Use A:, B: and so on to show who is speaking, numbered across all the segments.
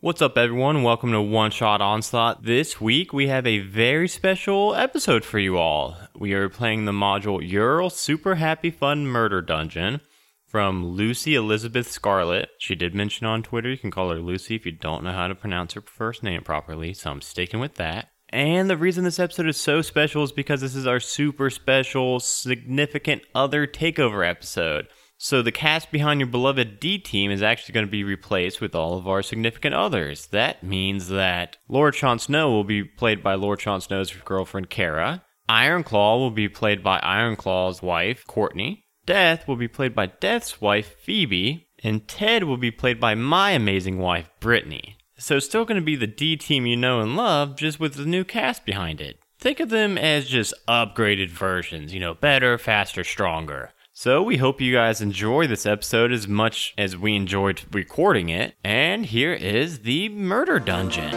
A: What's up, everyone? Welcome to One Shot Onslaught. This week, we have a very special episode for you all. We are playing the module Ural Super Happy Fun Murder Dungeon from Lucy Elizabeth Scarlett. She did mention on Twitter you can call her Lucy if you don't know how to pronounce her first name properly, so I'm sticking with that. And the reason this episode is so special is because this is our super special significant other takeover episode. So the cast behind your beloved D team is actually going to be replaced with all of our significant others. That means that Laura Chon Snow will be played by Laura Chon Snow's girlfriend Kara. Ironclaw will be played by Ironclaw's wife Courtney. Death will be played by Death's wife Phoebe, and Ted will be played by my amazing wife Brittany. So it's still going to be the D team you know and love, just with the new cast behind it. Think of them as just upgraded versions, you know, better, faster, stronger. So we hope you guys enjoy this episode as much as we enjoyed recording it. And here is the murder dungeon.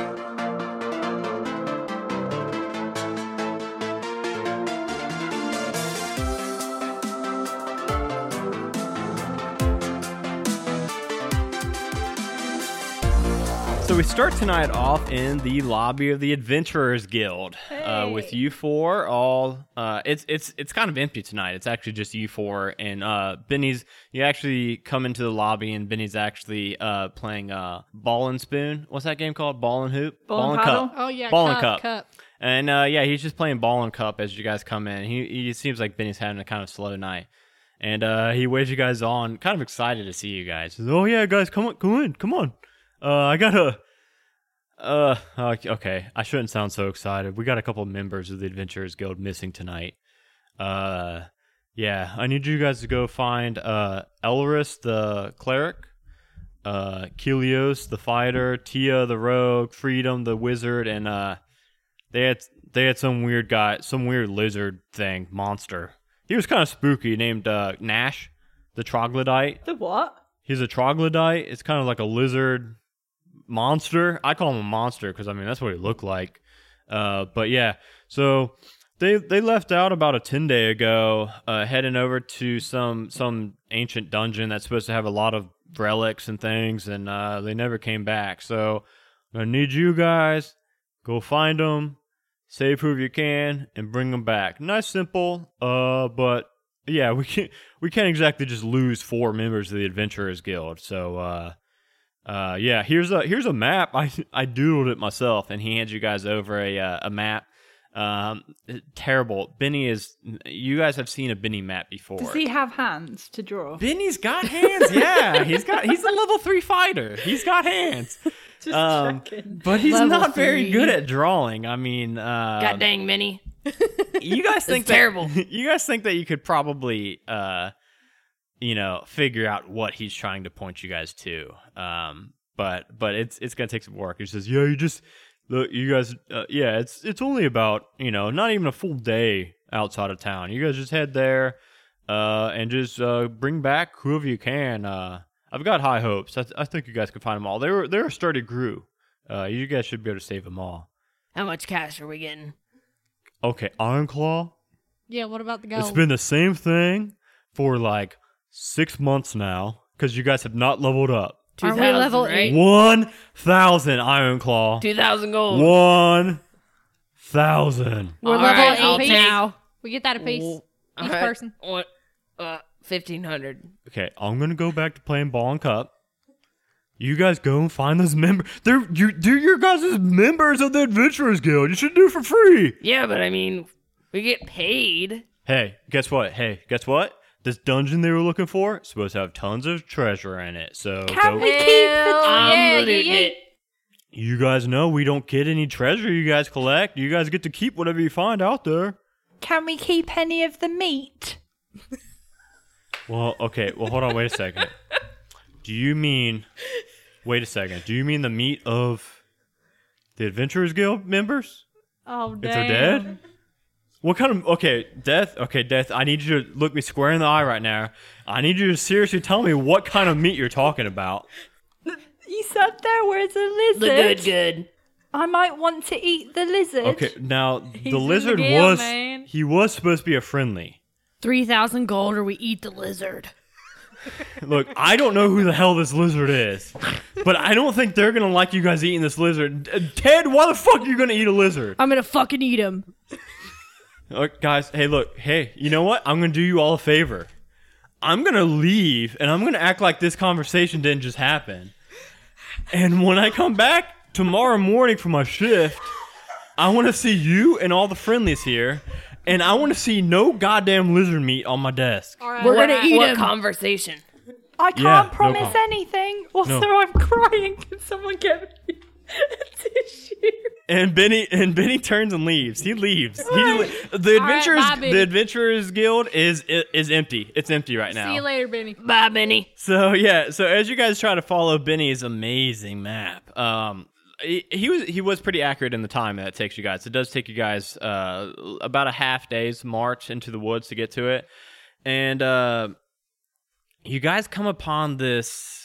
A: So we start tonight off in the lobby of the Adventurers Guild uh, with you four. All uh, it's it's it's kind of empty tonight. It's actually just you four and uh, Benny's. You actually come into the lobby and Benny's actually uh, playing uh, ball and spoon. What's that game called? Ball and hoop.
B: Ball and paddle?
A: cup.
C: Oh yeah,
A: Ball
C: cup,
A: and cup.
C: cup.
A: And uh, yeah, he's just playing ball and cup as you guys come in. He he seems like Benny's having a kind of slow night, and uh, he waves you guys on, kind of excited to see you guys. He says, oh yeah, guys, come on, come in, come on. Uh, I got a. Uh, uh, okay. I shouldn't sound so excited. We got a couple members of the Adventurers Guild missing tonight. Uh, yeah, I need you guys to go find uh Elris the cleric uh Kilios the fighter, Tia the rogue, Freedom the wizard, and uh they had they had some weird guy, some weird lizard thing, monster. He was kind of spooky, named uh Nash, the troglodyte.
B: The what?
A: He's a troglodyte. It's kind of like a lizard monster. I call him a monster because I mean that's what he looked like. Uh, but yeah, so they they left out about a ten day ago, uh, heading over to some some ancient dungeon that's supposed to have a lot of relics and things, and uh, they never came back. So I need you guys go find them, save who you can, and bring them back. Nice, simple. Uh, but yeah, we can't we can't exactly just lose four members of the Adventurers Guild. So uh, uh, yeah, here's a here's a map. I I doodled it myself, and he hands you guys over a uh, a map. Um, terrible. Benny is. You guys have seen a Benny map before.
B: Does he have hands to draw?
A: Benny's got hands. Yeah, he's got. He's a level three fighter. He's got hands.
B: Just
A: Um,
B: checking.
A: But he's
C: Level
A: not very
C: three.
A: good at drawing. I mean, uh,
C: God dang, Minnie.
A: you guys think that,
C: It's terrible.
A: You guys think that you could probably, uh, you know, figure out what he's trying to point you guys to. Um, but but it's it's gonna take some work. He says, yeah, you just look, you guys, uh, yeah, it's it's only about you know not even a full day outside of town. You guys just head there, uh, and just uh, bring back whoever you can. Uh, I've got high hopes. I, I think you guys can find them all. They were they're a sturdy crew. Uh, you guys should be able to save them all.
C: How much cash are we getting?
A: Okay, Ironclaw,
C: Yeah, what about the gold?
A: It's been the same thing for like six months now because you guys have not leveled up.
C: Aren't we
B: 2000,
C: level
B: right?
C: eight?
A: One thousand Iron Claw.
C: Two thousand gold.
A: One thousand.
D: We're
C: All
D: level
C: right,
D: eight
C: I'll
D: piece.
C: take-
D: We get that a piece.
C: Ooh, all
D: Each
C: right.
D: person.
C: What? Uh, fifteen hundred.
A: Okay, I'm gonna go back to playing ball and cup. You guys go and find those member. They're you. They're your guys as members of the Adventurers Guild. You should do it for free.
C: Yeah, but I mean, we get paid.
A: Hey, guess what? Hey, guess what? This dungeon they were looking for is supposed to have tons of treasure in it. So go-
D: we keep the
C: Hell, I'm
D: Oh, yeah, yeah,
C: looting
D: yeah.
C: it.
A: You guys know we don't get any treasure you guys collect. You guys get to keep whatever you find out there.
B: Can we keep any of the meat?
A: Well, okay. Well, hold on. Wait a second. Do you mean. Wait a second. Do you mean the meat of the Adventurers Guild members?
B: Oh,
A: If they're dead? What kind of. Okay, death. Okay, death. I need you to look me square in the eye right now. I need you to seriously tell me what kind of meat you're talking about.
B: You said there was a lizard.
C: The good, good.
B: I might want to eat the lizard.
D: Oh.
A: Okay, now
D: He's
A: the
D: in the
A: lizard
D: guild,
A: was.
D: man.
A: He was supposed to be a friendly.
C: Three thousand gold, or we eat the lizard.
A: Look, I don't know who the hell this lizard is, but I don't think they're gonna like you guys eating this lizard. Uh, Ted, why the fuck are you gonna eat a lizard?
D: I'm gonna fucking eat him.
A: Look, guys, hey, look, hey, you know what? I'm gonna do you all a favor. I'm gonna leave and I'm gonna act like this conversation didn't just happen. And when I come back tomorrow morning for my shift, I wanna see you and all the friendlies here, and I wanna see no goddamn lizard meat on my desk.
E: All right.
D: We're
C: what,
D: gonna eat
C: what
D: him.
C: conversation?
B: I can't
A: Yeah, no
B: promise
A: problem.
B: anything. Also,
A: No.
B: I'm crying. Can someone get me a tissue?
A: And Benny and Benny turns and leaves. He leaves. He li- the adventurers
E: bye, Benny.
A: the adventurers guild is is empty. It's empty right now.
E: See you later, Benny.
C: Bye, Benny.
A: So yeah, so as you guys try to follow Benny's amazing map, um, he, he was he was pretty accurate in the time that it takes you guys. It does take you guys uh, about a half day's march into the woods to get to it, and uh, you guys come upon this.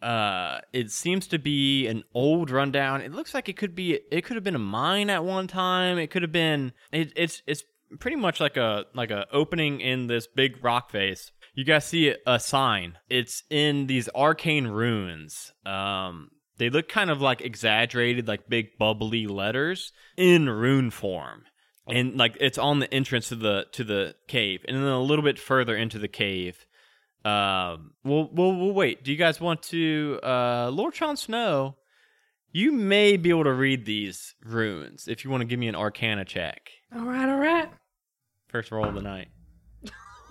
A: Uh, it seems to be an old rundown. It looks like it could be it could have been a mine at one time. It could have been it, it's it's pretty much like a like a opening in this big rock face. You guys see a sign. It's in these arcane runes. Um, they look kind of like exaggerated, like big bubbly letters in rune form and like it's on the entrance to the to the cave and then a little bit further into the cave um we'll we'll, we'll wait do you guys want to uh lord Sean snow you may be able to read these runes if you want to give me an arcana check
D: All right, all right.
A: first roll of the night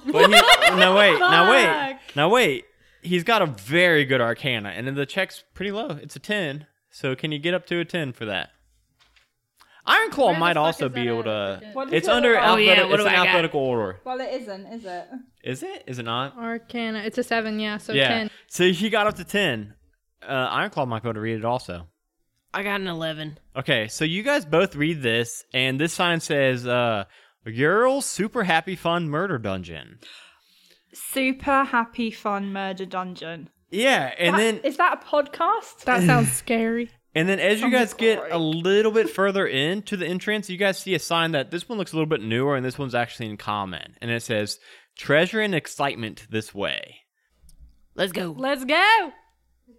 A: but he, now wait now wait now wait he's got a very good arcana and then the check's pretty low it's a 10 so can you get up to a 10 for that iron claw
E: Where the
A: might
E: fuck
A: also
E: is
A: be
E: that
A: able
E: at?
A: to
B: What is
A: it's
B: it?
A: under
B: Oh,
A: alphabet-
C: yeah, what
A: it's
C: do
A: an
C: I got?
A: alphabetical order.
B: Well, it isn't, is it?
A: Is it? Is it not?
E: Arcana. It's a seven, yeah. So
A: yeah.
E: ten.
A: So she got up to ten. Uh, Ironclaw might be able to read it also.
C: I got an eleven.
A: Okay, so you guys both read this, and this sign says, uh, "Ural Super Happy Fun Murder Dungeon."
B: Super happy fun murder dungeon.
A: Yeah, and
B: That-
A: then
B: is that a podcast?
D: That sounds scary.
A: And then as you guys get a little bit further into the entrance, you guys see a sign that this one looks a little bit newer and this one's actually in common. And it says, Treasure and excitement this way.
C: Let's go.
E: Let's go.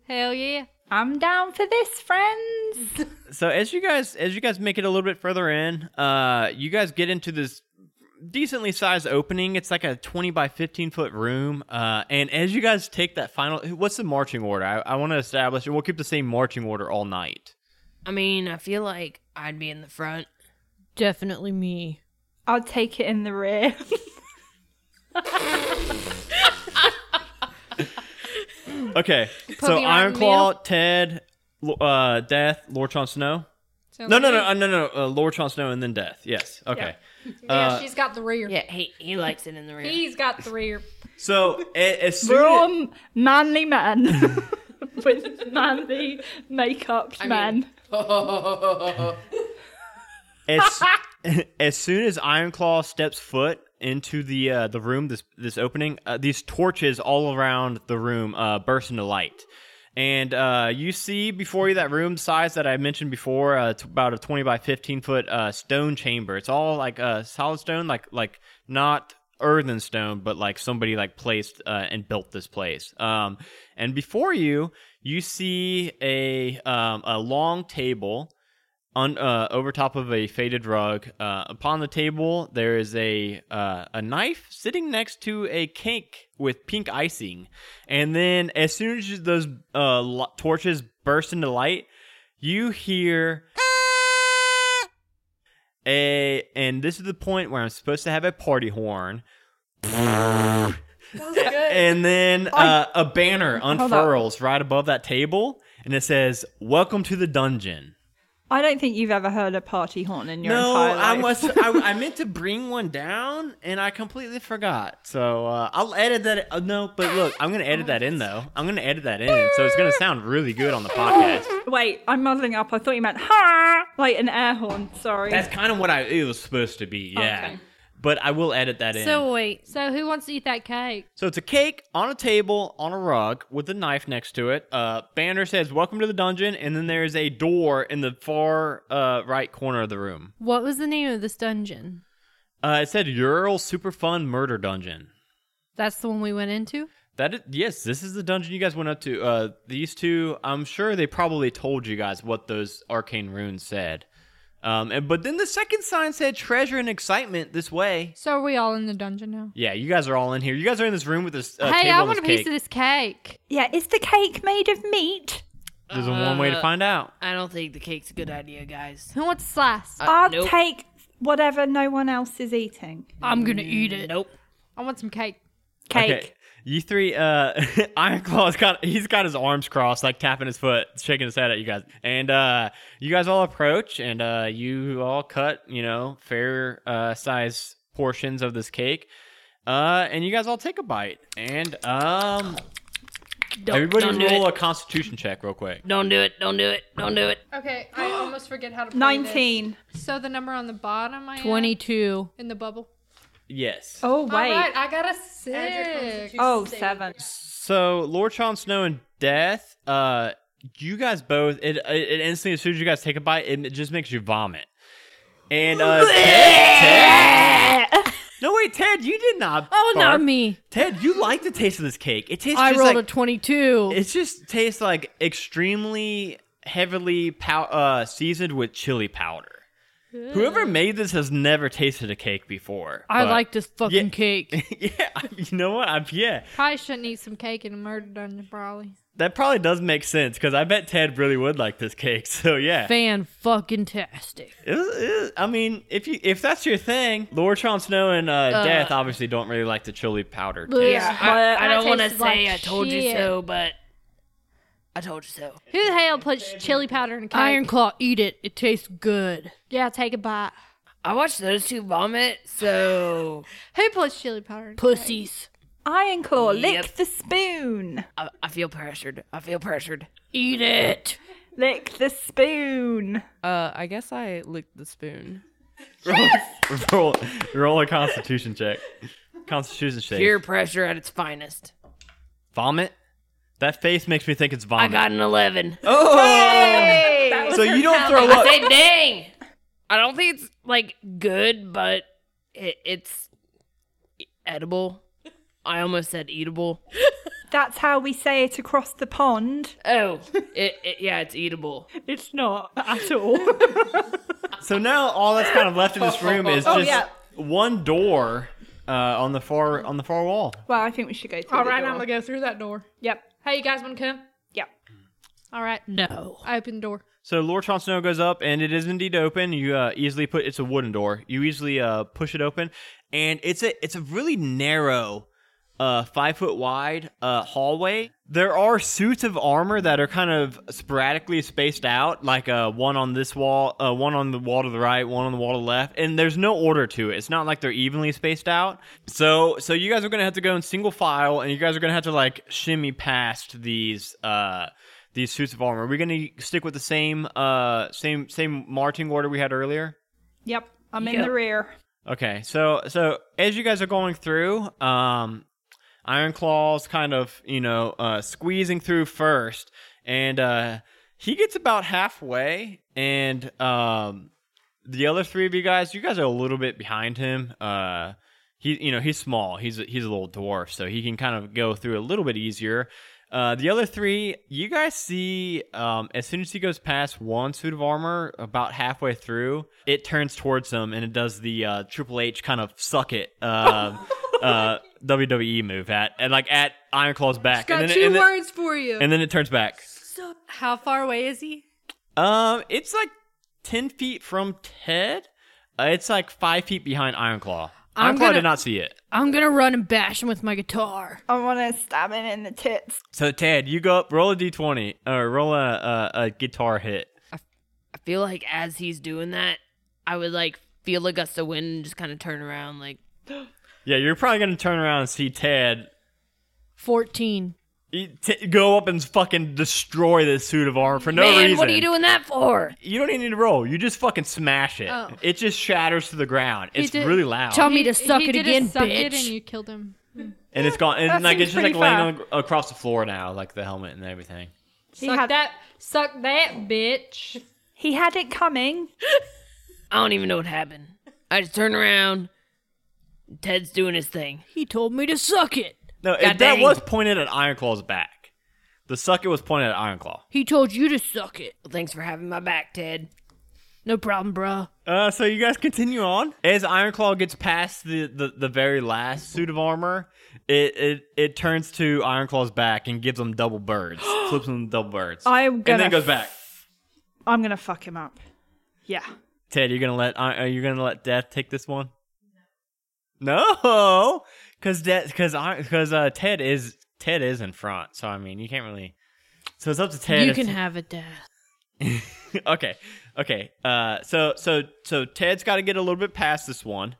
E: Hell yeah.
B: I'm down for this, friends.
A: So as you guys as you guys make it a little bit further in, uh, you guys get into this decently sized opening. It's like a twenty by fifteen foot room. Uh, and as you guys take that final what's the marching order? I, I want to establish and we'll keep the same marching order all night.
C: I mean, I feel like I'd be in the front.
D: Definitely me.
B: I'll take it in the rear.
A: Okay. so
E: me right in the
A: Ironclaw, Ted, Lo- uh, Death, Lord Chon Snow.
E: Sounds
A: No, no,
E: good.
A: no, uh, no, no. Uh, Lord Chon Snow and then Death. Yes. Okay.
E: Yeah,
A: Uh,
E: she's got the rear.
C: Yeah, he he likes it in the rear.
E: He's got the rear.
A: So a- as soon
B: We're all
A: as,
B: m- manly men with manly makeup men.
A: as, as soon as Ironclaw steps foot into the uh, the room, this this opening, uh, these torches all around the room uh, burst into light. And uh, you see before you that room size that I mentioned before. Uh, it's about a twenty by fifteen foot uh, stone chamber. It's all like uh, solid stone, like like not earthen stone, but like somebody like placed uh, and built this place. Um, and before you, you see a um, a long table on uh, over top of a faded rug. Uh, upon the table, there is a uh, a knife sitting next to a cake with pink icing. And then, as soon as those uh, lo- torches burst into light, you hear a and this is the point where I'm supposed to have a party horn. and then uh, a banner unfurls right above that table, and it says, "Welcome to the dungeon."
B: I don't think you've ever heard a party horn in your
A: no,
B: entire life.
A: I must. I, I meant to bring one down, and I completely forgot. So uh, I'll edit that. Uh, no, but look, I'm gonna edit that in though. I'm gonna edit that in, so it's gonna sound really good on the podcast.
B: Wait, I'm muddling up. I thought you meant ha, like an air horn. Sorry.
A: That's kind of what I it was supposed to be. Yeah.
B: Okay.
A: But I will edit that in.
E: So wait. So who wants to eat that cake?
A: So it's a cake on a table on a rug with a knife next to it. Uh, banner says "Welcome to the dungeon," and then there is a door in the far uh, right corner of the room.
D: What was the name of this dungeon?
A: Uh, it said "Ural Super Fun Murder Dungeon."
D: That's the one we went into.
A: That is, yes, this is the dungeon you guys went up to. Uh, these two, I'm sure they probably told you guys what those arcane runes said. Um, and but then the second sign said treasure and excitement this way.
E: So are we all in the dungeon now?
A: Yeah, you guys are all in here. You guys are in this room with this uh,
E: hey,
A: table
E: I
A: and
E: want
A: this
E: a
A: cake.
E: piece of this cake.
B: Yeah, is the cake made of meat?
A: There's a one way to
C: Uh,
A: find out.
C: I don't think the cake's a good idea, guys.
E: Who wants a slice?
B: I'll
C: nope.
B: take whatever no one else is eating.
D: I'm gonna eat it.
C: Nope.
E: I want some cake.
B: Cake.
A: Okay. You three, uh, Ironclaw's got, he's got his arms crossed, like tapping his foot, shaking his head at you guys. And, uh, you guys all approach and, uh, you all cut, you know, fair, uh, size portions of this cake. Uh, and you guys all take a bite. And, um,
C: Don't,
A: everybody
C: don't do
A: roll
C: it.
A: a constitution check real quick.
C: Don't do it. Don't do it. Don't do it.
E: Okay, I almost forget how to play
B: 19.
E: This. So the number on the bottom, I am
D: Twenty-two.
E: in the bubble.
A: Yes.
B: Oh, wait.
E: All right, I got a six.
B: Oh, seven.
A: So, Lord Sean Snow and Death, uh, you guys both, it, it, it instantly, as soon as you guys take a bite, it, it just makes you vomit. And, uh, Ted, Ted- no, wait, Ted, you did not.
D: Oh,
A: barf.
D: not me.
A: Ted, you like the taste of this cake. It tastes
D: I
A: just
D: rolled a
A: like,
D: twenty-two.
A: it just tastes like extremely heavily pow- uh, seasoned with chili powder. Whoever made this has never tasted a cake before.
D: I
A: but-
D: like this fucking
A: Yeah.
D: cake.
A: yeah, I- you know what? I'm, yeah,
E: Probably shouldn't eat some cake in a murder dungeon, probably.
A: That probably does make sense because I bet Ted really would like this cake. So yeah,
D: Fan fucking tastic.
A: It was- it was- I mean, if you if that's your thing, Lord Sean Snow and uh, Death obviously don't really like the chili powder. taste.
C: I, I
E: that
C: don't want to
E: tastes like
C: say I told you
E: shit.
C: so, but I told you so.
E: Who the hell puts chili powder in a cake?
D: Iron Claw, eat it. It tastes good.
E: Yeah, take a bite.
C: I watched those two vomit, so
E: Who puts chili powder in
D: Pussies,
B: Ironclaw,
C: Yep.
B: lick the spoon.
C: I, I feel pressured. I feel pressured.
D: eat it.
B: Lick the spoon.
F: Uh, I guess I licked the spoon.
A: roll, roll a Constitution check. Constitution check.
C: Peer pressure at its finest.
A: Vomit. That face makes me think it's
C: I
A: vomit.
C: got an 11.
A: oh, so you don't throw
C: I
A: up.
C: said, dang. I don't think it's like good, but it, it's edible. I almost said eatable.
B: That's how we say it across the pond.
C: Oh, it, it, yeah, it's eatable.
B: It's not at all.
A: So now all that's kind of left in this room
C: Oh,
A: is just
B: yeah.
A: one door uh, on the far on the far wall.
B: well, I think we should go through the door.
E: go through that door.
B: Yep,
E: Hey, you guys want to come?
B: yep.
E: All right,
D: No.
E: I open the door.
A: So Lord Sean Snow goes up, and it is indeed open. You uh, easily put it's a wooden door. You easily uh, push it open, and it's a it's a really narrow, uh, five foot wide uh, hallway. There are suits of armor that are kind of sporadically spaced out, like uh, one on this wall, uh, one on the wall to the right, one on the wall to the left, and there's no order to it. It's not like they're evenly spaced out. So so you guys are gonna have to go in single file, and you guys are gonna have to like shimmy past these. Uh, these suits of armor. Are we going to stick with the same uh same same marching order we had earlier?
B: Yep, I'm in the rear.
A: Okay. So so as you guys are going through, um Iron Claw's kind of, you know, uh squeezing through first and uh he gets about halfway and um the other three of you guys, you guys are a little bit behind him. Uh he you know, he's small. He's a, he's a little dwarf, so he can kind of go through a little bit easier. Uh, the other three, you guys see, um, as soon as he goes past one suit of armor, about halfway through, it turns towards him and it does the uh, Triple H kind of suck it uh, uh, WWE move at, and like at Iron Claw's back,
E: Got
A: and, then,
E: two
A: and, then,
E: words for you.
A: and then it turns back.
E: How far away is he?
A: Um, it's like ten feet from Ted. Uh, it's like five feet behind Iron Claw.
D: I'm
A: Iron Claw
D: gonna-
A: did not see it.
D: I'm gonna run and bash him with my guitar.
B: I want to stab him in the tits.
A: So Ted, you go up, roll a d20, or roll a, a, a guitar hit.
C: I feel like as he's doing that, I would like feel a gust of wind and just kind of turn around like,
A: Yeah, you're probably gonna turn around and see Ted
D: Fourteen.
A: e- t- go up and fucking destroy this suit of armor for no
C: man,
A: reason.
C: what are you doing that for?
A: You don't even need to roll. You just fucking smash it.
E: Oh.
A: It just shatters to the ground. It's
E: did-
A: really loud,
D: Tell me
E: He-
D: to suck
E: he
D: it
E: did a
D: again,
E: suck
D: bitch.
E: It and you killed him.
A: and it's gone. And
B: That
A: like it's
B: seems
A: just like
B: pretty
A: laying on, across the floor now, like the helmet and everything.
B: He
E: suck
B: had,
E: that, suck that, bitch.
B: he had it coming.
C: I don't even know what happened. I just turn around. Ted's doing his thing.
D: He told me to suck it.
A: No, it,
C: God
A: that
C: dang.
A: was pointed at Ironclaw's back. The sucker was pointed at Ironclaw.
D: He told you to suck it.
C: Well, thanks for having my back, Ted.
D: No problem, bruh.
A: Uh, so you guys continue on as Ironclaw gets past the, the, the very last suit of armor. It it it turns to Ironclaw's back and gives him double birds, flips him double birds.
B: I'm
A: and
B: gonna
A: then goes back.
B: I'm gonna fuck him up. Yeah.
A: Ted, you're gonna let Iron- are you gonna let Death take this one? No, because Death because because uh, Ted is Ted is in front, so I mean you can't really. So it's up to Ted.
D: you
A: if-
D: can have it, Dad.
A: okay okay uh so so so ted's got to get a little bit past this one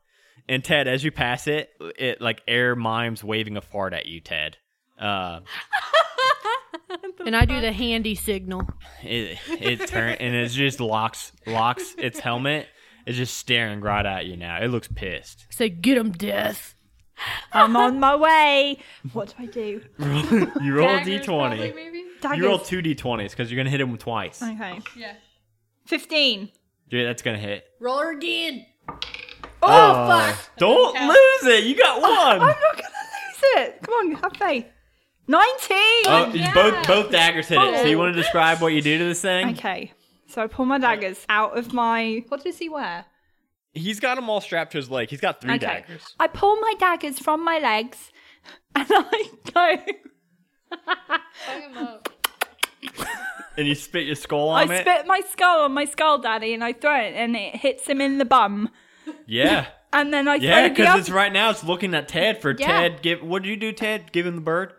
A: and ted as you pass it it like air mimes waving a fart at you ted uh
D: And I do the handy signal.
A: it it turn and it just locks locks its helmet it's just staring right at you now it looks pissed
D: Say, get him, Death.
B: I'm on my way. What do I do?
A: you roll a
E: Daggers probably,
A: d20
E: maybe?
B: Daggers.
A: you roll two d20s because you're gonna hit him twice
B: okay.
E: Yeah.
B: Fifteen.
A: Dude, that's gonna hit
E: Roll her again.
B: Oh,
A: Uh,
B: fuck!
A: don't
E: Okay.
A: lose it you got one
B: I'm not gonna lose it. Come on, have faith. Nineteen.
A: Oh,
E: yeah.
A: both both daggers hit it. So you
E: Oh.
A: want to describe what you do to this thing?
B: Okay. So I pull my daggers out of my. What does he wear?
A: He's got them all strapped to his leg. He's got three
B: Okay.
A: daggers.
B: I pull my daggers from my legs, and I go.
E: Fuck him up.
A: And you spit your skull
B: I
A: on it.
B: spit my skull on my skull, daddy, and I throw it, and it hits him in the bum.
A: Yeah,
B: And then I
A: yeah.
B: throw the
A: Because
B: other.
A: it's right now. It's looking at Ted for
E: Yeah.
A: Ted. Give what did you do, Ted? Give him the bird.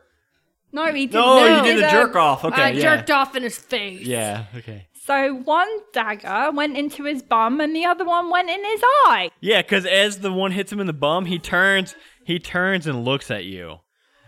E: No, he didn't.
A: No, Oh,
D: No.
A: you did a
D: Did,
A: jerk off. Okay,
D: I
A: yeah.
D: jerked off in his face.
A: Yeah. Okay.
B: So one dagger went into his bum, and the other one went in his eye.
A: Yeah, because as the one hits him in the bum, he turns. He turns and looks at you,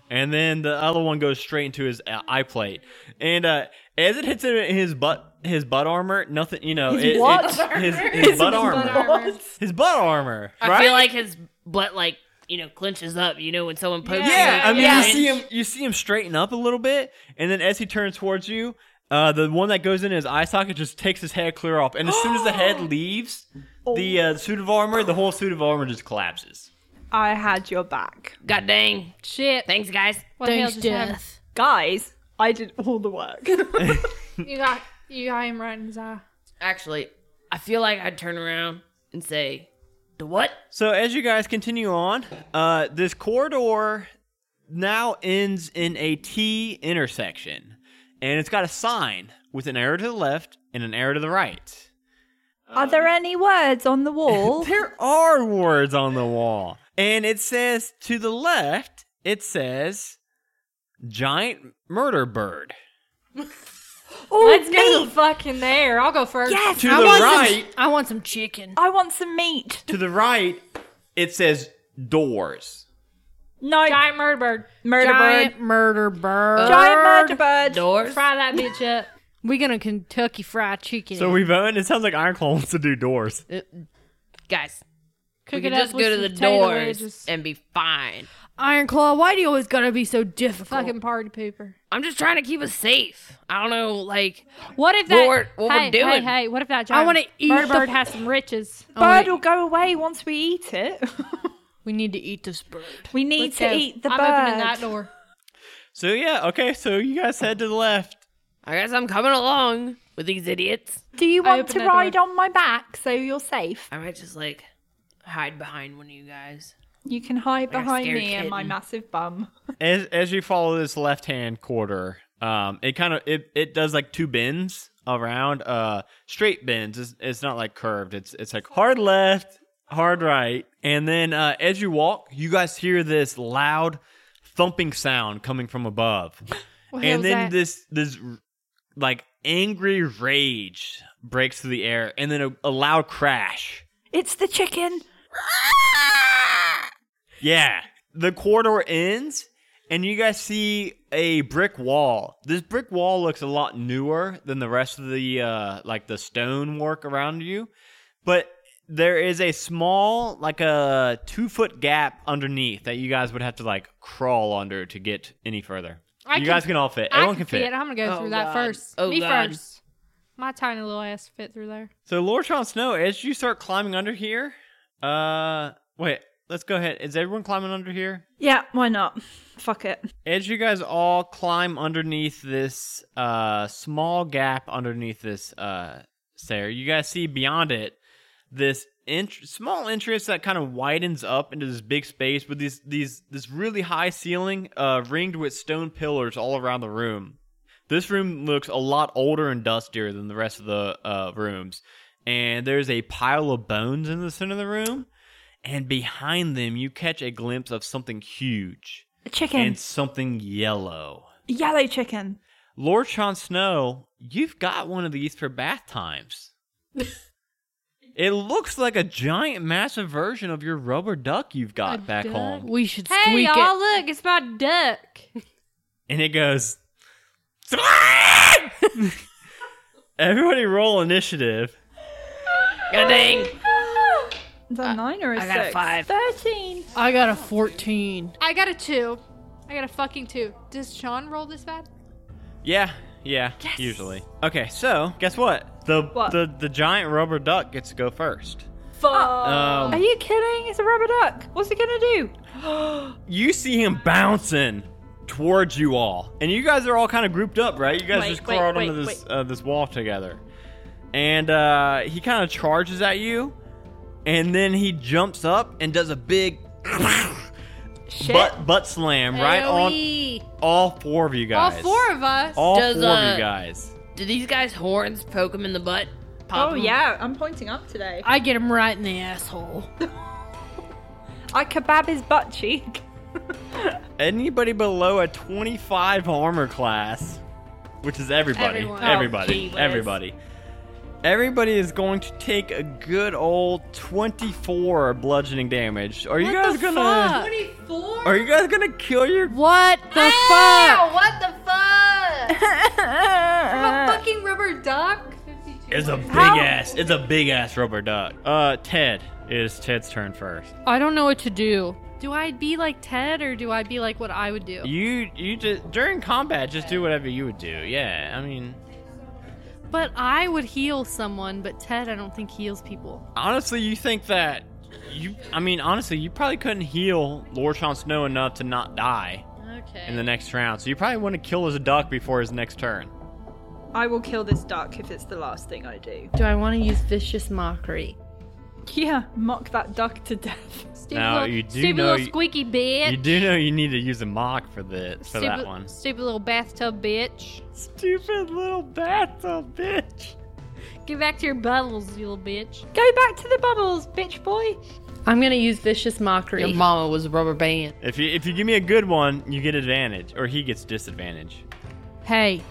A: and then the other one goes straight into his uh, eye plate. And uh, as it hits him in his butt, his butt armor. Nothing. You know, his it,
B: what?
A: it- his, his,
B: His
A: butt
B: butt
A: armor.
E: armor.
A: His butt armor. Right?
C: I feel like his butt, like you know, clenches up. You know, when someone pokes.
A: Yeah,
E: Yeah,
A: I mean,
E: yeah.
A: you see him, you see him straighten up a little bit, and then as he turns towards you, uh, the one that goes in his eye socket just takes his head clear off, and as soon as the head leaves
E: Oh.
A: the uh, suit of armor, the whole suit of armor just collapses.
B: I had your back,
C: God dang.
E: Shit.
C: Thanks, guys.
E: What the hell
D: Thanks,
E: just happened?
D: Death.
B: guys. I did all the work.
E: You got, you got him right in his eye.
C: Actually, I feel like I'd turn around and say, "The what?"
A: So as you guys continue on, uh, this corridor now ends in a T intersection, and it's got a sign with an arrow to the left and an arrow to the right.
B: Are there any words on the wall?
A: There are words on the wall. And it says to the left, it says giant murder bird.
B: Oh,
E: Let's
B: meat.
E: go the fuck in there. I'll go first.
B: Yes,
A: To
B: I
A: the
B: want some-
A: right,
D: I want some chicken.
B: I want some meat.
A: to the right, it says doors.
B: No,
E: Giant murder bird.
B: murder
D: Giant
B: bird.
D: murder bird.
B: Giant murder bird.
C: Doors.
E: Fry that bitch up.
D: We're gonna Kentucky Fried Chicken.
A: So
D: it.
A: we vote, and it sounds like Ironclaw wants to do doors.
C: Guys,
E: Cook
C: we
E: it
C: could
E: up
C: just
E: with
C: go to
E: some
C: the
E: potato
C: doors
E: wedges.
C: and be fine.
D: Iron Claw, why do you always gotta be so difficult?
E: Fucking party pooper.
C: I'm just trying to keep us safe. I don't know, like
E: What if
C: What
E: that?
C: we're- what we're
E: hey, hey,
C: doing.
E: hey, what if that giant
D: wanna eat
E: murder
D: the-
E: bird has some riches?
B: Bird will go away once we eat it.
D: we need to eat this bird.
B: we need
E: Let's
B: to
E: go.
B: eat the
E: I'm
B: bird.
E: opening that door.
A: So, yeah, okay, so you guys head to the left.
C: I guess I'm coming along with these idiots.
B: Do you
E: I
B: want
E: open
B: to
E: that door.
B: ride on my back so you're safe?
C: I might just like hide behind one of you guys.
B: You can hide
C: Like a
B: behind me
C: scared
B: and my
C: kitten.
B: massive bum.
A: as as you follow this left hand quarter, um, it kind of it, it does like two bends around, uh, straight bends. It's, it's not like curved. It's it's like hard left, hard right, and then uh, as you walk, you guys hear this loud thumping sound coming from above,
E: What the hell
A: and
E: is
A: then
E: that?
A: this this like angry rage breaks through the air, and then a, a loud crash.
B: It's the chicken.
A: Yeah. The corridor ends, and you guys see a brick wall. This brick wall looks a lot newer than the rest of the uh, like the stone work around you, but there is a small, like a two foot gap underneath that you guys would have to like crawl under to get any further.
E: I
A: you
E: can-
A: guys can all fit.
E: I
A: Everyone
E: can
A: can fit.
E: fit. I'm gonna go
C: Oh,
E: through
C: God.
E: that first.
C: Oh,
E: Me
C: God.
E: first. My tiny little ass fit through there.
A: So, Lord Sean Snow, as you start climbing under here, uh, wait, Let's go ahead. Is everyone climbing under here?
B: Yeah, why not? Fuck it.
A: As you guys all climb underneath this uh, small gap underneath this uh, stair, you guys see beyond it this int- small entrance that kind of widens up into this big space with these these this really high ceiling uh, ringed with stone pillars all around the room. This room looks a lot older and dustier than the rest of the uh, rooms, and there's a pile of bones in the center of the room. And behind them, you catch a glimpse of something huge
B: A chicken.
A: and something yellow.
B: Yellow chicken.
A: Lord Sean Snow, you've got one of these for bath times. it looks like a giant, massive version of your rubber duck you've got back home.
C: We should
E: Hey,
C: squeak
E: y'all,
C: it.
E: look, it's my duck.
A: And it goes. Everybody roll initiative.
C: God dang.
B: Is that nine or a
C: I got a
B: six?
C: five.
B: Thirteen.
D: I got a 14.
E: I got a two. I got a fucking two. Does Sean roll this bad?
A: Yeah, yeah, usually. Okay, so guess what? The,
B: What?
A: the the giant rubber duck gets to go first.
B: Fuck.
A: Um,
B: Are you kidding? It's a rubber duck. What's it gonna do?
A: you see him bouncing towards you all, and you guys are all kind of grouped up, right? You guys
C: Wait,
A: just
C: wait,
A: crawled
C: wait,
A: onto this uh, this wall together, and uh, he kind of charges at you, and then he jumps up and does a big butt butt slam right on
D: AOE.
A: all four of you guys.
E: All four of us.
A: All
C: Does,
A: four of
C: uh,
A: you guys.
C: Do these guys' horns poke him in the butt? Pop
B: Oh
C: 'em?
B: yeah, I'm pointing up today.
D: I get him right in the asshole.
B: I kebab his butt cheek.
A: Anybody below a 25 armor class, which is everybody,
E: Everyone.
A: everybody,
C: Oh, gee whiz.
A: everybody, everybody is going to take a good old 24 bludgeoning damage. Are you guys gonna? Are you guys gonna kill your?
D: What the
E: Ow, what the fuck? I'm a fucking rubber duck. 52.
A: It's a big ass. It's a big ass rubber duck. Uh, Ted. It is Ted's turn first.
E: I don't know what to do. Do I be like Ted or do I be like what I would do?
A: You you just during combat just do whatever you would do. Yeah, I mean
E: But I would heal someone, but Ted I don't think heals people.
A: honestly, you think that you? I mean, honestly, you probably couldn't heal Lord Sean Snow enough to not die
D: fuck?
A: in
D: Okay.
A: the next round. So you probably want to kill his duck before his next turn.
B: I will kill this duck if it's the last thing I do.
D: Do I want to use vicious mockery?
B: Yeah, mock that duck to death.
E: Stupid
A: Now,
E: little,
A: you do
E: stupid
A: know
E: little
A: you-
E: squeaky bitch.
A: You do know you need to use a mock for this for that one.
E: Stupid little bathtub bitch.
A: Stupid little bathtub bitch.
E: Get back to your bubbles, you little bitch.
B: Go back to the bubbles, bitch boy.
D: I'm going to use vicious mockery.
C: Your mama was a rubber band.
A: If you if you give me a good one, you get advantage, or he gets disadvantage.
D: Hey,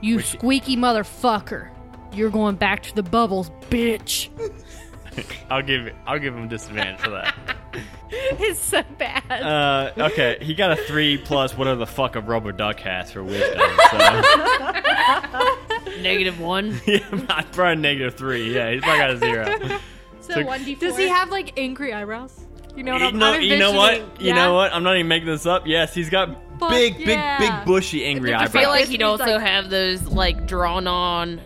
D: you
A: Which-
D: squeaky motherfucker. You're going back to the bubbles, bitch.
A: I'll give I'll give him disadvantage for that.
D: It's so bad.
A: Uh, okay, he got a three plus whatever the fuck a rubber duck has for wisdom. So.
C: Negative one.
A: Yeah, probably negative three. Yeah, he's probably got a zero.
D: so,
A: so-
D: 1d4.
E: Does he have like angry eyebrows? You know what
A: you
E: I'm
A: know,
E: I'm
A: you know what?
E: envisioning.
A: You
E: Yeah?
A: know what? I'm not even making this up. Yes, he's got
E: Fuck
A: big,
E: yeah.
A: big, big, bushy, angry
C: I
A: eyebrows.
C: feel like
D: This
C: he'd
D: means,
C: also
D: like-
C: have those like drawn on,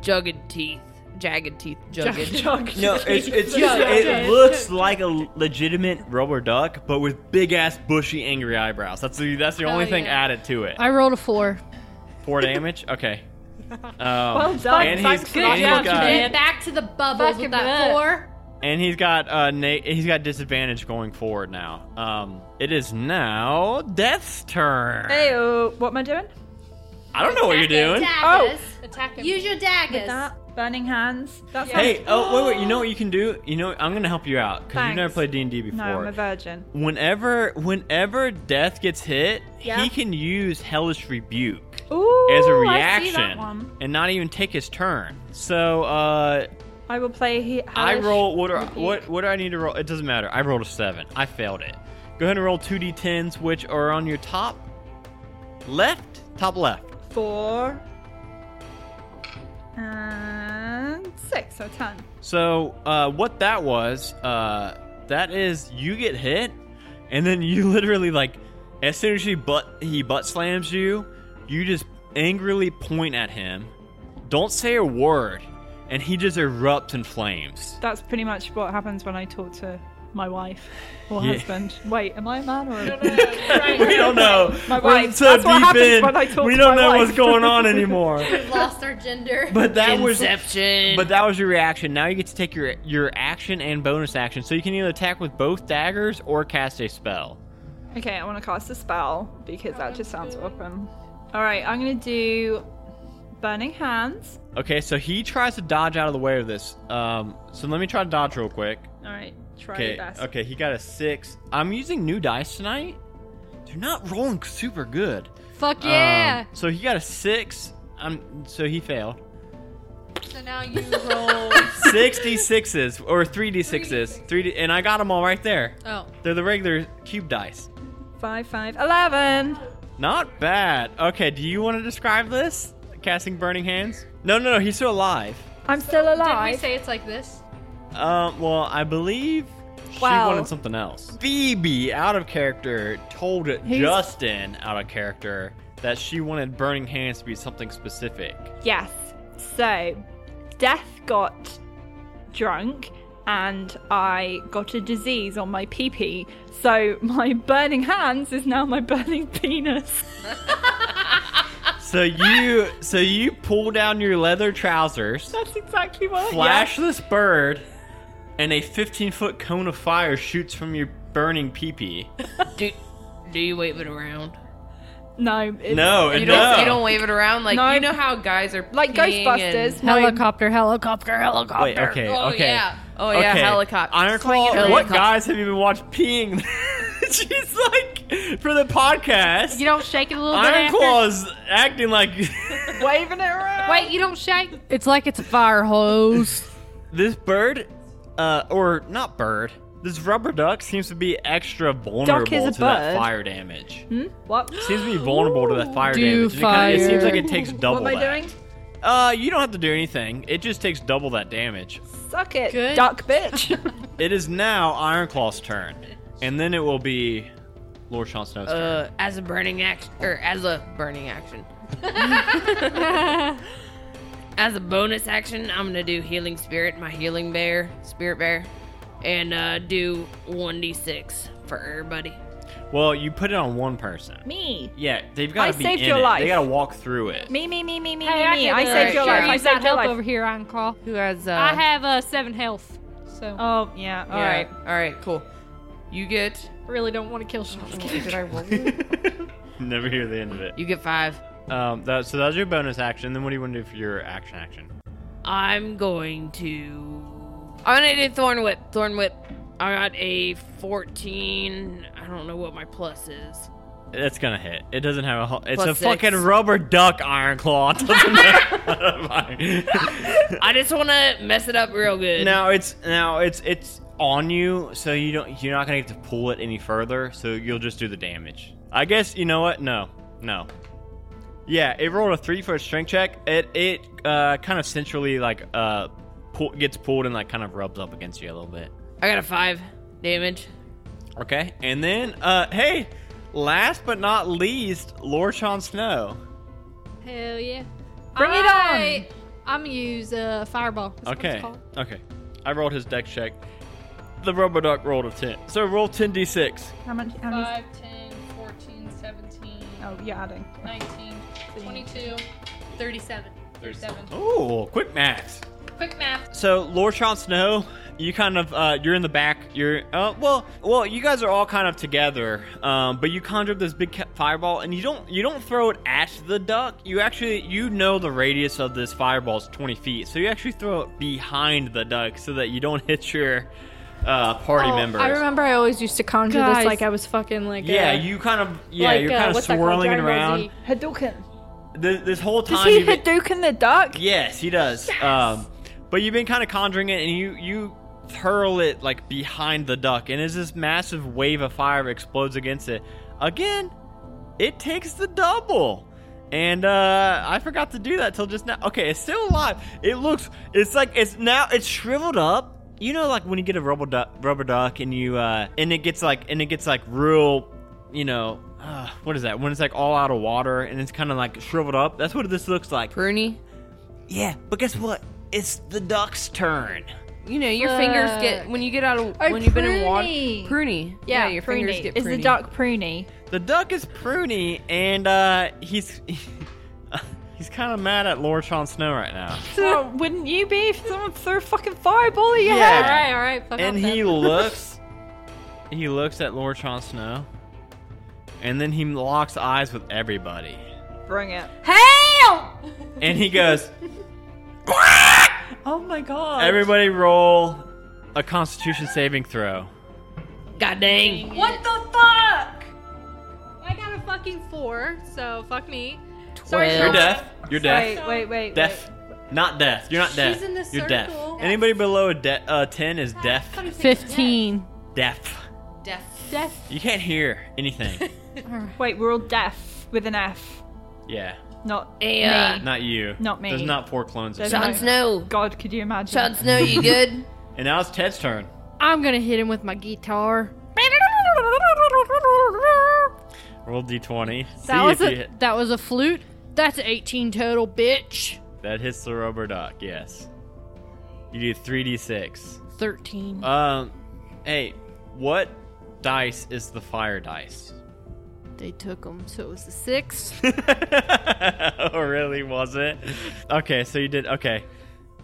C: jugged teeth, jagged teeth, jugged.
A: no, it's, it's
E: yeah.
A: it looks like a legitimate rubber duck, but with big ass, bushy, angry eyebrows. That's the that's the only thing added to it.
D: I rolled a 4.
A: Four damage. Okay. Um,
B: Well done.
A: And
B: Thanks
A: he's,
B: for
A: and
B: that
A: he's
B: job,
A: got,
B: Ted.
D: back to the bubbles with that 4.
A: and he's got uh na- he's got disadvantage going forward now. Um, it is now Death's turn.
B: Ayo, uh, what am I doing?
A: I don't know what you're doing.
B: Oh,
E: Attack him.
D: Use your
B: with
D: daggers.
B: that burning hands. That's
A: Hey, oh wait, wait. You know what you can do? You know I'm gonna help you out because you've never
B: Thanks.
A: played D and D
B: no, I'm a
A: before.
B: virgin.
A: whenever, whenever Death gets hit,
D: Yeah.
A: he can use Hellish Rebuke
B: Ooh,
A: as a
B: I see that
A: reaction
B: one.
A: and not even take his turn. So uh,
B: I will play. He-
A: I
B: Hellish
A: roll. What do I-
B: Rebuke.
A: what what do I need to roll? It doesn't matter. I rolled a seven. I failed it. Go ahead and roll two d10s, which are on your top left, top left.
B: Four and six, so ten.
A: So uh, what that was, uh, that is you get hit, and then you literally like, as soon as he butt he butt slams you, you just angrily point at him, don't say a word, and he just erupts in flames.
B: That's pretty much what happens when I talk to my wife or
A: Yeah.
B: husband. Wait, am I a man or? A...
A: We don't know.
B: My
A: We're
B: wife.
A: so
B: That's what
A: deep
B: happens
A: in,
B: when I talk
A: we
B: to
A: don't
B: my
A: know
B: wife.
A: what's going on anymore.
E: We've lost our gender.
A: But that was
C: Inception.
A: But that was your reaction. Now you get to take your your action and bonus action. So you can either attack with both daggers or cast a spell.
B: Okay, I want to cast a spell because that just sounds awesome. All right, I'm gonna do burning hands.
A: Okay, so he tries to dodge out of the way of this. Um, so let me try to dodge real quick.
B: All right, try your
A: Okay,
B: best.
A: okay, he got a six. I'm using new dice tonight. They're not rolling super good.
E: Fuck
A: Um,
E: yeah.
A: so he got a six. Um, so he failed.
E: so now you roll.
A: Sixty sixes or three d sixes. Three d, and I got them all right there.
D: Oh.
A: They're the regular cube dice.
B: Five, five, eleven.
A: Not bad. Okay, do you want to describe this? Casting burning hands? No, no, no. He's still alive.
B: I'm still
E: Did we
B: alive.
E: say it's like this?
A: Um, well, I believe she
B: Wow.
A: wanted something else. Phoebe, out of character, told Justin, out of character, that she wanted burning hands to be something specific.
B: Yes. So, Death got drunk and I got a disease on my pee pee. So, my burning hands is now my burning penis.
A: So you, so you pull down your leather trousers,
B: That's exactly what
A: flash this bird, and a 15 foot cone of fire shoots from your burning peepee.
C: do, do you wave it around?
B: Yeah. No. It's,
A: No,
C: You
A: and
C: don't.
A: no.
C: You don't wave it around. Like
B: No.
C: you know how guys are
B: Like
C: peeing and-
B: Ghostbusters. No.
D: Helicopter, helicopter, helicopter.
A: Wait, okay,
C: Oh
A: okay.
C: yeah. Oh yeah.
A: Okay.
C: Helicopter.
A: Iron Claw,
C: Swinging
A: what
C: helicopter.
A: guys have you been watching peeing? She's like, for the podcast,
D: You don't shake it a little
A: Iron
D: bit.
A: Claw is acting like
B: Waving it around.
E: Wait, you don't shake?
D: It's like it's a fire hose.
A: this bird, uh, or not bird. This rubber duck seems to be extra vulnerable
B: Duck is a
A: to that
B: bird.
A: fire damage.
B: What?
A: Seems to be vulnerable to that fire
D: Do
A: damage. and it kinda- It, seems
D: fire.
A: like it takes double
B: What am I
A: that.
B: doing?
A: Uh, you don't have to do anything. It just takes double that damage.
B: Suck it,
D: Good.
B: duck bitch.
A: It is now Iron Claw's turn, and then it will be Lord Sean Snow's turn.
C: Uh, as a burning action, or as a burning action. as a bonus action, I'm gonna do healing spirit, my healing bear, spirit bear, and uh, do 1d6 for everybody.
A: Well, you put it on one person.
B: me.
A: Yeah, they've got
B: I
A: to be
B: saved
A: in
B: your
A: it.
B: life.
A: They got to walk through it.
B: Me, me, me, me, me,
D: Hey, I
B: me.
D: can
B: I
D: do
B: saved
C: it.
B: your
C: Sure,
B: life.
C: you
B: I
D: I
B: saved
D: got
B: your
D: help
B: life.
D: over here, Iron Claw.
C: Who has? Uh,
D: I have uh, seven health, so
B: Oh, yeah. All
C: yeah.
B: right.
C: All right. Cool. You get.
D: really don't want to kill Sean.
C: Did I roll?
A: Never hear the end of it.
C: you get five.
A: Um, that, so that's your bonus action. Then what do you want to do for your action action?
C: I'm going to. I'm gonna do Thorn Whip. Thorn Whip. I got a 14. I don't know what my plus is.
A: It's gonna hit. It doesn't have a. Ho- it's
C: Plus
A: a
C: six.
A: fucking rubber duck iron claw. It doesn't matter.
C: I just want to mess it up real good.
A: now it's now it's it's on you, so you don't you're not gonna get to pull it any further. So you'll just do the damage. I guess you know what? No, no. Yeah, it rolled a three for a strength check. It it uh, kind of centrally like uh pull, gets pulled and like kind of rubs up against you a little bit.
C: I got a five damage.
A: Okay, and then uh hey, last but not least, Lord Sean Snow.
D: Hell yeah!
B: Bring it on.
D: I, I'm gonna use uh, fireball. That's what it's
A: Okay,
D: called.
A: okay, I rolled his deck check. The rubber duck rolled a ten, so roll ten d six.
B: How much? How many?
E: 5, 10, 14, 17,
B: Oh, you're adding.
E: 19, 22, 37. 37.
A: Oh, quick max.
E: Quick math.
A: So Lord Sean Snow, you kind of uh, you're in the back. You're uh, well, well, you guys are all kind of together, um, but you conjure up this big ca- fireball, and you don't you don't throw it at the duck. You actually you know the radius of this fireball is 20 feet, so you actually throw it behind the duck so that you don't hit your uh, party members.
D: Oh, I remember I always used to conjure
C: Guys.
D: this like I was fucking like
A: Yeah,
D: uh,
A: you kind of yeah
D: like,
A: you're
D: uh,
A: kind of
D: what's that called?
A: swirling it
D: Dragon Ball
A: around.
D: Z.
B: Hadouken.
A: This, this whole
B: Does
A: time
B: he
A: you've been-
B: Hadouken the duck?
A: Yes, he does. Um, but you've been kind of conjuring it, and you you hurl it like behind the duck, and as this massive wave of fire explodes against it, again, it takes the double. And uh, I forgot to do that till just now. Okay, it's still alive. It looks, it's like it's now it's shriveled up. You know, like when you get a rubber duck, rubber duck, and you uh, and it gets like and it gets like real, you know, uh, what is that? When it's like all out of water and it's kind of like shriveled up. That's what this looks like.
C: Pruny.
A: Yeah, but guess what? It's the duck's turn.
F: you know, your fingers get when you get out of
E: Oh,
F: when you've been in water.
E: pruny.
F: Pruny.
B: Yeah,
F: your
B: pruny.
F: fingers get
B: It's
F: pruny.
B: the duck pruny.
A: The duck is pruny, and uh, he's he's kind of mad at Lord Sean Snow right now.
B: well, wouldn't you be if someone threw a fucking fireball at your
A: Yeah.
B: head?
E: All right, all right. Fuck
A: and
E: off
A: he
E: then.
A: looks he looks at Lord Sean Snow, and then he locks eyes with everybody,
B: Bring it.
E: Help!
A: and he goes.
B: Oh my god.
A: Everybody roll a Constitution saving throw.
C: God dang.
E: What the fuck? I got a fucking four, so fuck me. Sorry,
C: Twelve.
A: You're
E: Sean.
A: deaf. You're deaf.
B: Wait, wait, wait.
A: Deaf. Not deaf. You're not deaf.
E: She's in the
A: You're deaf.
E: circle.
A: Anybody below a de- uh, ten is deaf.
E: Fucking take
D: Fifteen.
A: Deaf.
E: Deaf.
A: You can't hear anything.
B: Wait. wait, we're all deaf with an F.
A: yeah.
B: Not
C: Yeah.
B: me.
A: Not you.
B: Not me.
A: There's not four clones. Of
B: There's
A: you.
B: not-
C: uh, Jon Snow.
B: God, could you imagine?
C: Jon Snow, you good?
A: and now it's Ted's turn.
D: I'm gonna hit him with my guitar.
A: Roll d20.
D: That
A: See if
D: was
A: you
D: a
A: hit.
D: that was a flute. That's 18 total, bitch.
A: That hits the rubber duck. Yes. You do 3d6.
D: 13.
A: Um. Hey, what dice is the fire dice?
D: they took him, so it was a six.
A: oh, really? Was it? Okay, so you did. Okay,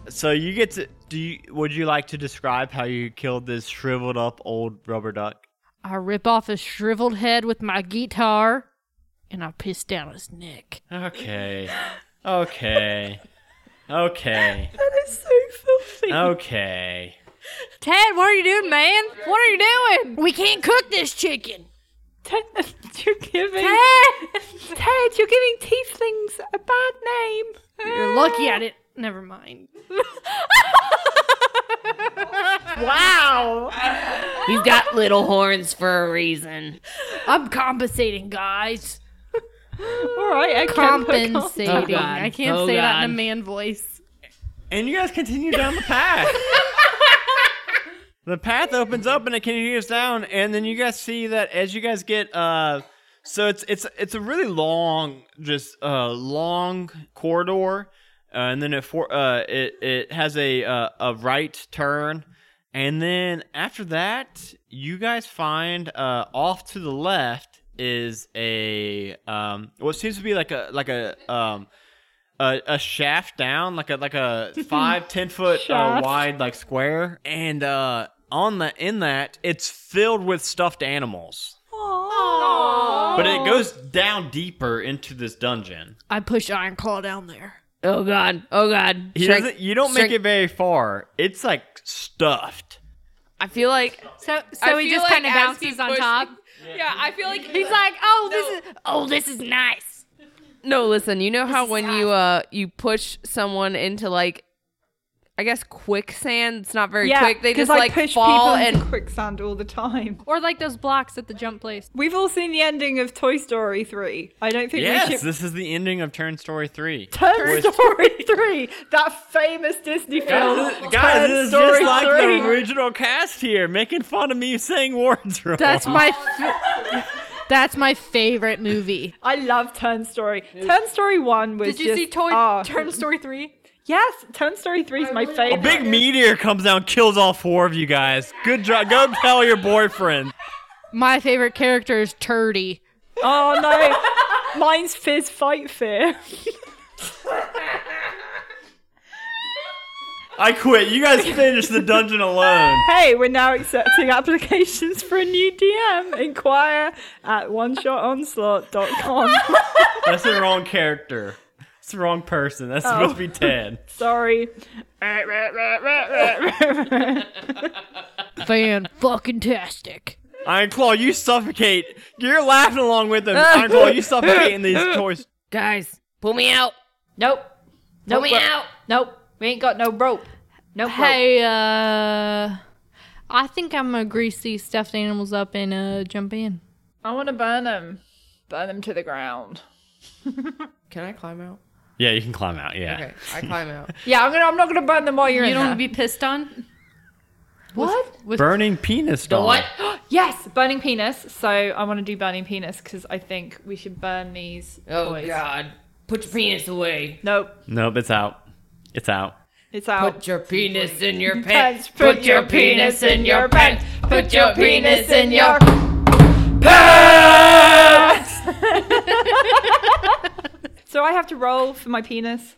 A: so you get to. Do you? Would you like to describe how you killed this shriveled up old rubber duck?
D: I rip off his shriveled head with my guitar, and I piss down his neck.
A: Okay, okay, okay,
B: That is so filthy.
A: okay.
D: Ted, what are you doing, man? What are you doing? We can't cook this chicken.
B: Ted, you're giving
D: Ted,
B: Ted, you're giving tieflings a bad name.
D: you're lucky I didn't. Never mind.
B: Wow.
C: He's got little horns for a reason.
D: I'm compensating, guys.
B: All right, I can't put
D: Compensating.
C: Oh, God.
D: I can't
C: Oh,
D: say that
C: God.
D: in a man voice.
A: And you guys continue down the path. the path opens up and it continues down, and then you guys see that as you guys get uh so it's it's it's a really long just uh long corridor. Uh, and then it for uh it it has a uh, a right turn and then after that you guys find uh off to the left is a um what seems to be like a like a um a, a shaft down, like a like a five ten foot uh,
B: Shaft.
A: wide like square, and uh, on the in that it's filled with stuffed animals, but it goes down deeper into this dungeon.
D: I push Iron Claw down there.
C: Oh God. Oh God.
A: He
C: Shrek-
A: doesn't, you don't make
C: Shrek-
A: it very far. It's like stuffed.
F: I feel like
E: So,
F: I
E: so he
F: feel
E: just
F: like
E: kind of
F: as he
E: bounces on
F: pushed-
E: top.
F: Yeah, I feel like
E: He's like, oh, this is.
C: Oh, this is nice.
F: No, listen. You know how when you uh you push someone into like, I guess quicksand. It's not very quick. They
B: 'cause
F: just
B: I
F: like
B: push
F: fall
B: people
F: and
B: into quicksand all the time.
E: Or like those blocks at the jump place.
B: We've all seen the ending of Toy Story 3. I don't think we
A: Yes,
B: should.
A: this is the ending of Turn Story Three.
B: Turn Story 3, that famous Disney film.
A: Guys, this- guys,
B: Turn
A: this is
B: Story
A: just like
B: 3.
A: the original cast here, making fun of me saying words wrong.
D: That's my. F- that's my favorite movie.
B: I love Turn Story. Turn Story 1 was
E: Did you
B: just,
E: see Toy
B: ah.
E: Turn Story Three?
B: Yes, Turn Story 3 is my
A: A
B: favorite.
A: Oh, big meteor comes down, kills all four of you guys. Good job. Go tell your boyfriend.
D: My favorite character is Turdy.
B: Oh no, mine's Fizz Fight Fear.
A: I quit. You guys finish the dungeon alone.
B: Hey, we're now accepting applications for a new DM. Inquire at oneshotonslaught.com.
A: That's the wrong character. It's the wrong person. That's supposed to be Ted.
B: Sorry.
D: Fan fucking tastic.
A: Ironclaw, you suffocate. You're laughing along with them. Ironclaw, you suffocate in these toys.
C: Guys, pull me out.
B: Nope.
C: Pull
B: Nope.
C: me
B: bro-
C: out.
B: Nope. We ain't got no rope. No rope.
D: Hey, uh, I think I'm gonna grease these stuffed animals up and uh, jump in.
B: I want to burn them. Burn them to the ground.
F: can I climb out?
A: Yeah, you can climb out. Yeah.
F: Okay, I climb out.
B: Yeah, I'm gonna. I'm not gonna burn them while you're
D: You
B: in
D: don't want
B: there.
D: to be pissed on.
B: what?
A: Burning penis doll.
C: What?
B: Yes, burning penis. So I want to do burning penis because I think we should burn these
C: Oh
B: toys.
C: God. Put your penis away.
B: Nope.
A: Nope, it's out. It's out.
B: It's out.
C: Put your penis in your
B: pants.
C: pants.
B: Put
C: Put,
B: Put your
C: your
B: your penis
C: penis
B: penis in in
C: in
B: your your
C: your
B: pants.
C: pants.
B: pants.
C: Put your penis in your.
B: so I have to roll for my penis.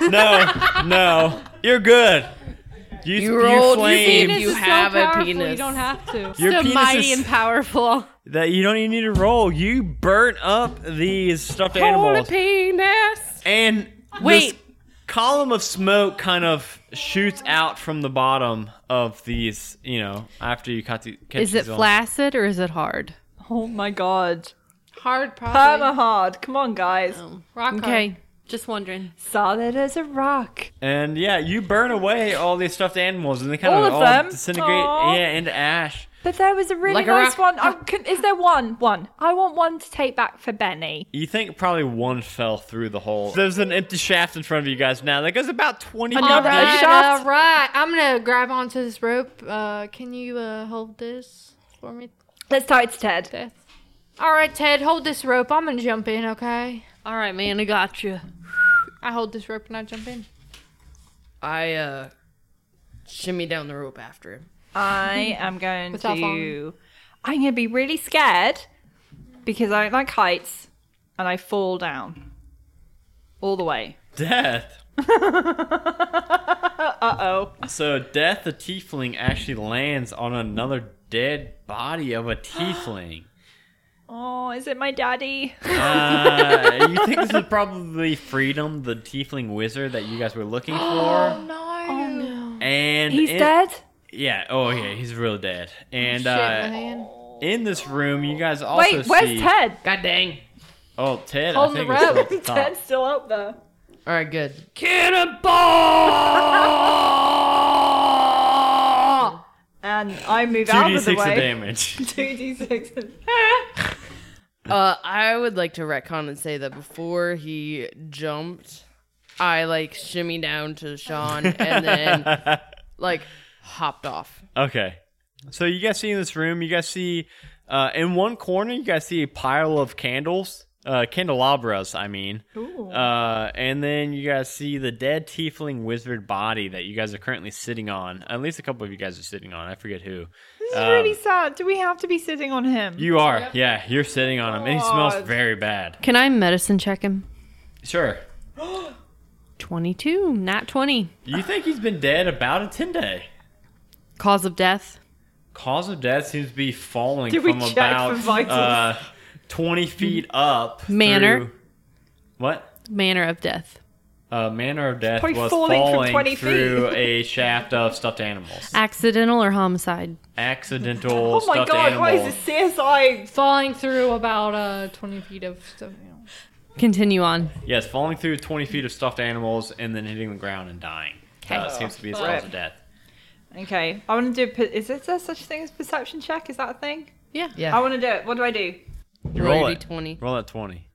A: No, no, you're good. You, you
C: rolled your
A: flame.
C: penis. You
D: is
C: have a
D: powerful, You
C: penis.
D: don't have to.
A: Your
D: so
A: penis
D: mighty
A: is-
D: and powerful.
A: That you don't even need to roll. You burnt up these stuffed animals,
C: penis.
A: and this
C: Wait.
A: column of smoke kind of shoots out from the bottom of these. You know, after you cut the catch
F: Is it
A: these on.
F: flaccid or is it hard?
B: Oh my god. Oh.
D: Hard, probably.
B: Perma hard. Come on, guys.
D: Rock
F: Okay.
D: hard. Just wondering.
B: Solid as a rock.
A: And yeah, you burn away all these stuffed animals, and they kind
B: All
A: of
B: of
A: all
B: them?
A: disintegrate.
B: Aw.
A: Yeah, into ash.
B: But there was a really
C: Like a
B: nice
C: rock.
B: one. I can, is there one? One. I want one to take back for Benny.
A: You think probably one fell through the hole. There's an empty shaft in front of you guys now. That goes about twenty.
D: All
A: feet.
B: Another
D: right,
B: shot.
D: all right. I'm gonna grab onto this rope. Uh, can you uh, hold this for me,
B: Let's tie it to Ted.
D: Ted? All right, Ted, hold this rope. I'm gonna jump in, okay?
C: All right, man, I got you.
D: I hold this rope and I jump in.
C: I uh, shimmy down the rope after him.
B: I am going
D: Without
B: to. I'm going to be really scared because I don't like heights and I fall down all the way.
A: Death.
B: Uh oh.
A: So death the tiefling actually lands on another dead body of a tiefling.
B: Oh, is it my daddy?
A: Uh, you think this is probably freedom, the tiefling wizard that you guys were looking for?
D: No.
A: And
B: Oh, He's
A: in-
B: dead?
A: Yeah. Oh yeah, he's real dead. And
D: Shit,
A: uh,
D: man.
A: in this room, you guys also
B: Wait, where's
A: see.
B: Ted?
C: God dang.
A: Oh, Ted. I
D: Hold
A: think
D: the
A: is still at the top.
B: Ted's still up there.
C: All right, good. Cannonball!
B: And I move out of the
A: 2d6 of
B: way.
A: damage.
B: 2d6.
C: Uh, I would like to retcon and say that before he jumped, I like shimmy down to Sean and then like hopped off.
A: Okay. So you guys see in this room, you guys see uh, in one corner, you guys see a pile of candles, uh, candelabras, I mean. Uh, and then you guys see the dead tiefling wizard body that you guys are currently sitting on. At least a couple of you guys are sitting on. I forget who. Um,
B: This is really sad. Do we have to be sitting on him?
A: You are, yeah, you're sitting on him, and he smells
B: God.
A: very bad.
F: Can I medicine check him?
A: Sure.
F: 22, not 20.
A: You think he's been dead about a 10 day.
F: Cause of death?
A: Cause of death seems to be falling
B: Did we
A: from
B: check for
A: about
B: vitals?
A: uh, 20 feet up.
F: Manner?
A: through- What?
F: Manner of death.
A: uh, manner of death
B: Probably
A: was
B: falling
A: falling,
B: from 20
A: through a shaft of stuffed animals.
F: Accidental or homicide?
A: Accidental
B: Oh my
A: stuffed
B: god,
A: animal.
B: why is this CSI?
D: Falling through about uh 20 feet of stuff. You know.
F: Continue on.
A: Yes, falling through 20 feet of stuffed animals and then hitting the ground and dying. Uh, seems to be his
B: Rip.
A: cause of death.
B: Okay, I want to do. per- Is there such a thing as perception check? Is that a thing?
F: Yeah.
B: I
C: Yeah.
B: want to do it. What do I do?
A: You roll
C: Roll
A: it.
C: your D20.
A: Roll that 20.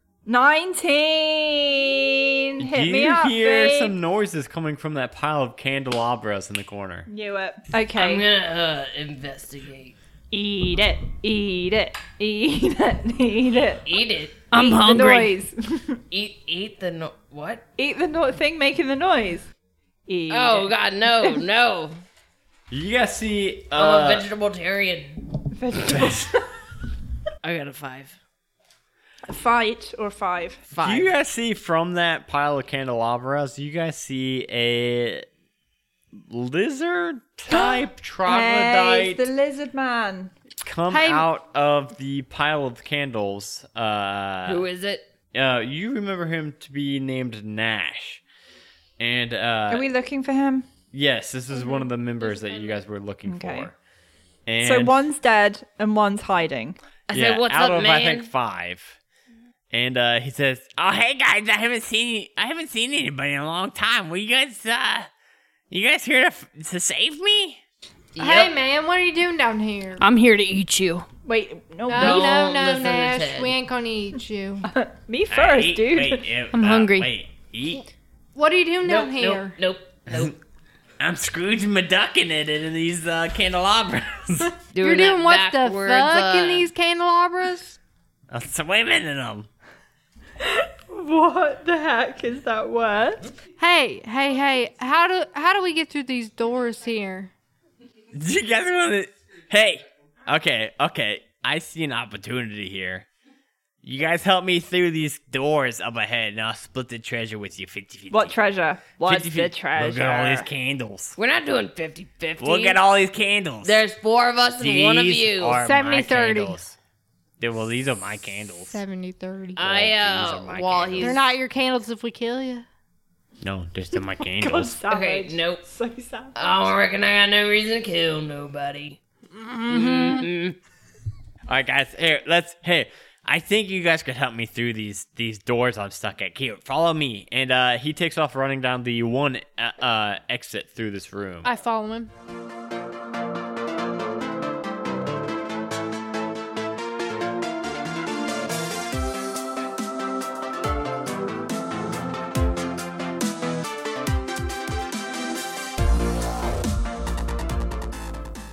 B: 19! Hit
A: you
B: me up.
A: hear
B: babe.
A: some noises coming from that pile of candelabras in the corner.
B: Knew it.
C: I'm
B: Okay.
C: gonna uh, investigate.
B: Eat it. Eat it. Eat it. Eat it.
C: Eat it.
F: I'm
B: Eat
F: hungry.
B: the noise.
C: Eat eat the no- what?
B: eat the no- thing making the noise. Eat
C: Oh
B: it.
C: God, no, no!
A: You guys see. Uh,
B: Oh,
C: I'm a vegetarian.
B: Vegetable.
C: I got a five.
B: Fight or five.
A: Do
C: Five.
A: you guys see from that pile of candelabras? You guys see a lizard type
B: Hey,
A: troglodyte
B: it's the lizard man.
A: come
F: Hey.
A: out of the pile of candles.
C: Who
A: Uh,
C: is it?
A: uh, you remember him to be named Nash, and
B: Are
A: uh,
B: we looking for him?
A: yes, this is one of the members that you guys were looking
B: Okay.
A: for. And
B: So one's dead and one's hiding.
C: I
A: yeah,
C: said, "What's
A: out
C: up,
A: of
C: man?"
A: I think five. And uh, he says, "Oh, hey guys, I haven't seen you. I haven't seen anybody in a long time. Were you guys, uh, you guys here to, f- to save me?"
D: Hey, man, what are you doing down here?
F: I'm here to eat you.
B: Wait, no,
D: Oh, No, no,
C: Don't
D: no,
C: listen to
D: Nash.
C: Ted.
D: We ain't gonna eat you.
B: me first,
A: Eat-
B: dude.
A: wait, uh,
F: I'm
A: uh,
F: hungry.
A: Wait, eat.
D: What are you doing
C: Nope,
D: down
C: nope,
D: here?
C: nope, nope.
A: I'm Scrooge McDucking it in these uh, candelabras.
D: You're doing
C: that
D: what the
C: backwards,
D: fuck
C: uh,
D: in these candelabras?
A: I'm swimming in them.
B: What the heck is that word?
D: Hey, hey, hey! How do how do we get through these doors here?
G: Do you guys want to? Hey, okay, okay. I see an opportunity here. You guys help me through these doors up ahead, and I'll split the treasure with you 50 50.
B: What treasure? What's
G: 50
B: the
G: Look at all
B: treasure?
G: these candles.
C: We're not doing 50 50.
G: Look at all these candles.
C: There's four of us and
G: these
C: one of you.
G: Are
D: 70,
G: my
D: 30.
G: candles. Dude, well, these are my candles.
D: 70, 30.
C: I,
G: These are
C: uh,
G: my
C: while
G: candles.
C: he's.
D: They're not your candles if we kill you.
G: No, just
C: Oh,
G: are my
B: God,
G: candles.
B: savage.
C: Okay, nope.
B: So sad.
C: I don't reckon I got no reason to kill nobody.
G: All right, guys. Here, let's. Hey, I think you guys could help me through these these doors I'm stuck at. Here, follow me. And uh, he takes off running down the one uh, uh, exit through this room.
D: I follow him.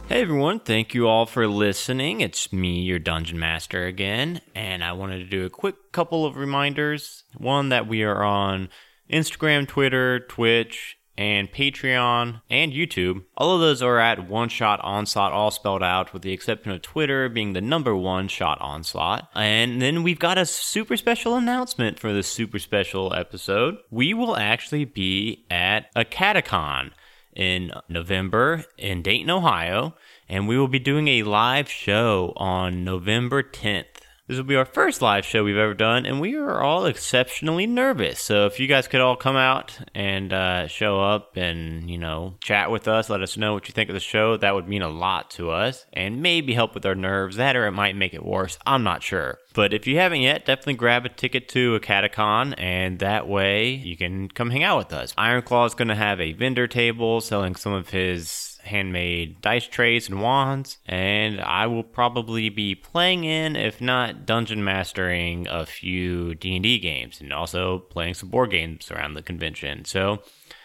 A: Hey everyone, thank you all for listening. It's me, your Dungeon Master again, and I wanted to do a quick couple of reminders. One, that we are on Instagram, Twitter, Twitch, and Patreon, and YouTube. All of those are at One Shot Onslaught, all spelled out, with the exception of Twitter being the number one shot onslaught. And then we've got a super special announcement for this super special episode. We will actually be at a catacon in November in Dayton, Ohio, and we will be doing a live show on November 10th. This will be our first live show we've ever done, and we are all exceptionally nervous. So if you guys could all come out and uh, show up and you know chat with us, let us know what you think of the show. That would mean a lot to us, and maybe help with our nerves. That or it might make it worse. I'm not sure. But if you haven't yet, definitely grab a ticket to a catacon, and that way you can come hang out with us. Ironclaw is going to have a vendor table selling some of his handmade dice trays and wands, and I will probably be playing in, if not dungeon mastering, a few D&D games, and also playing some board games around the convention. So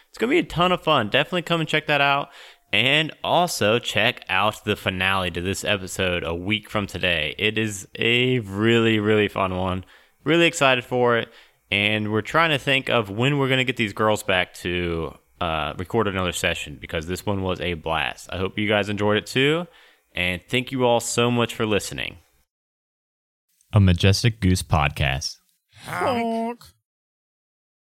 A: it's gonna be a ton of fun. Definitely come and check that out. And also check out the finale to this episode a week from today. It is a really, really fun one. Really excited for it. And we're trying to think of when we're going to get these girls back to uh, record another session because this one was a blast. I hope you guys enjoyed it too. And thank you all so much for listening. A Majestic Goose Podcast.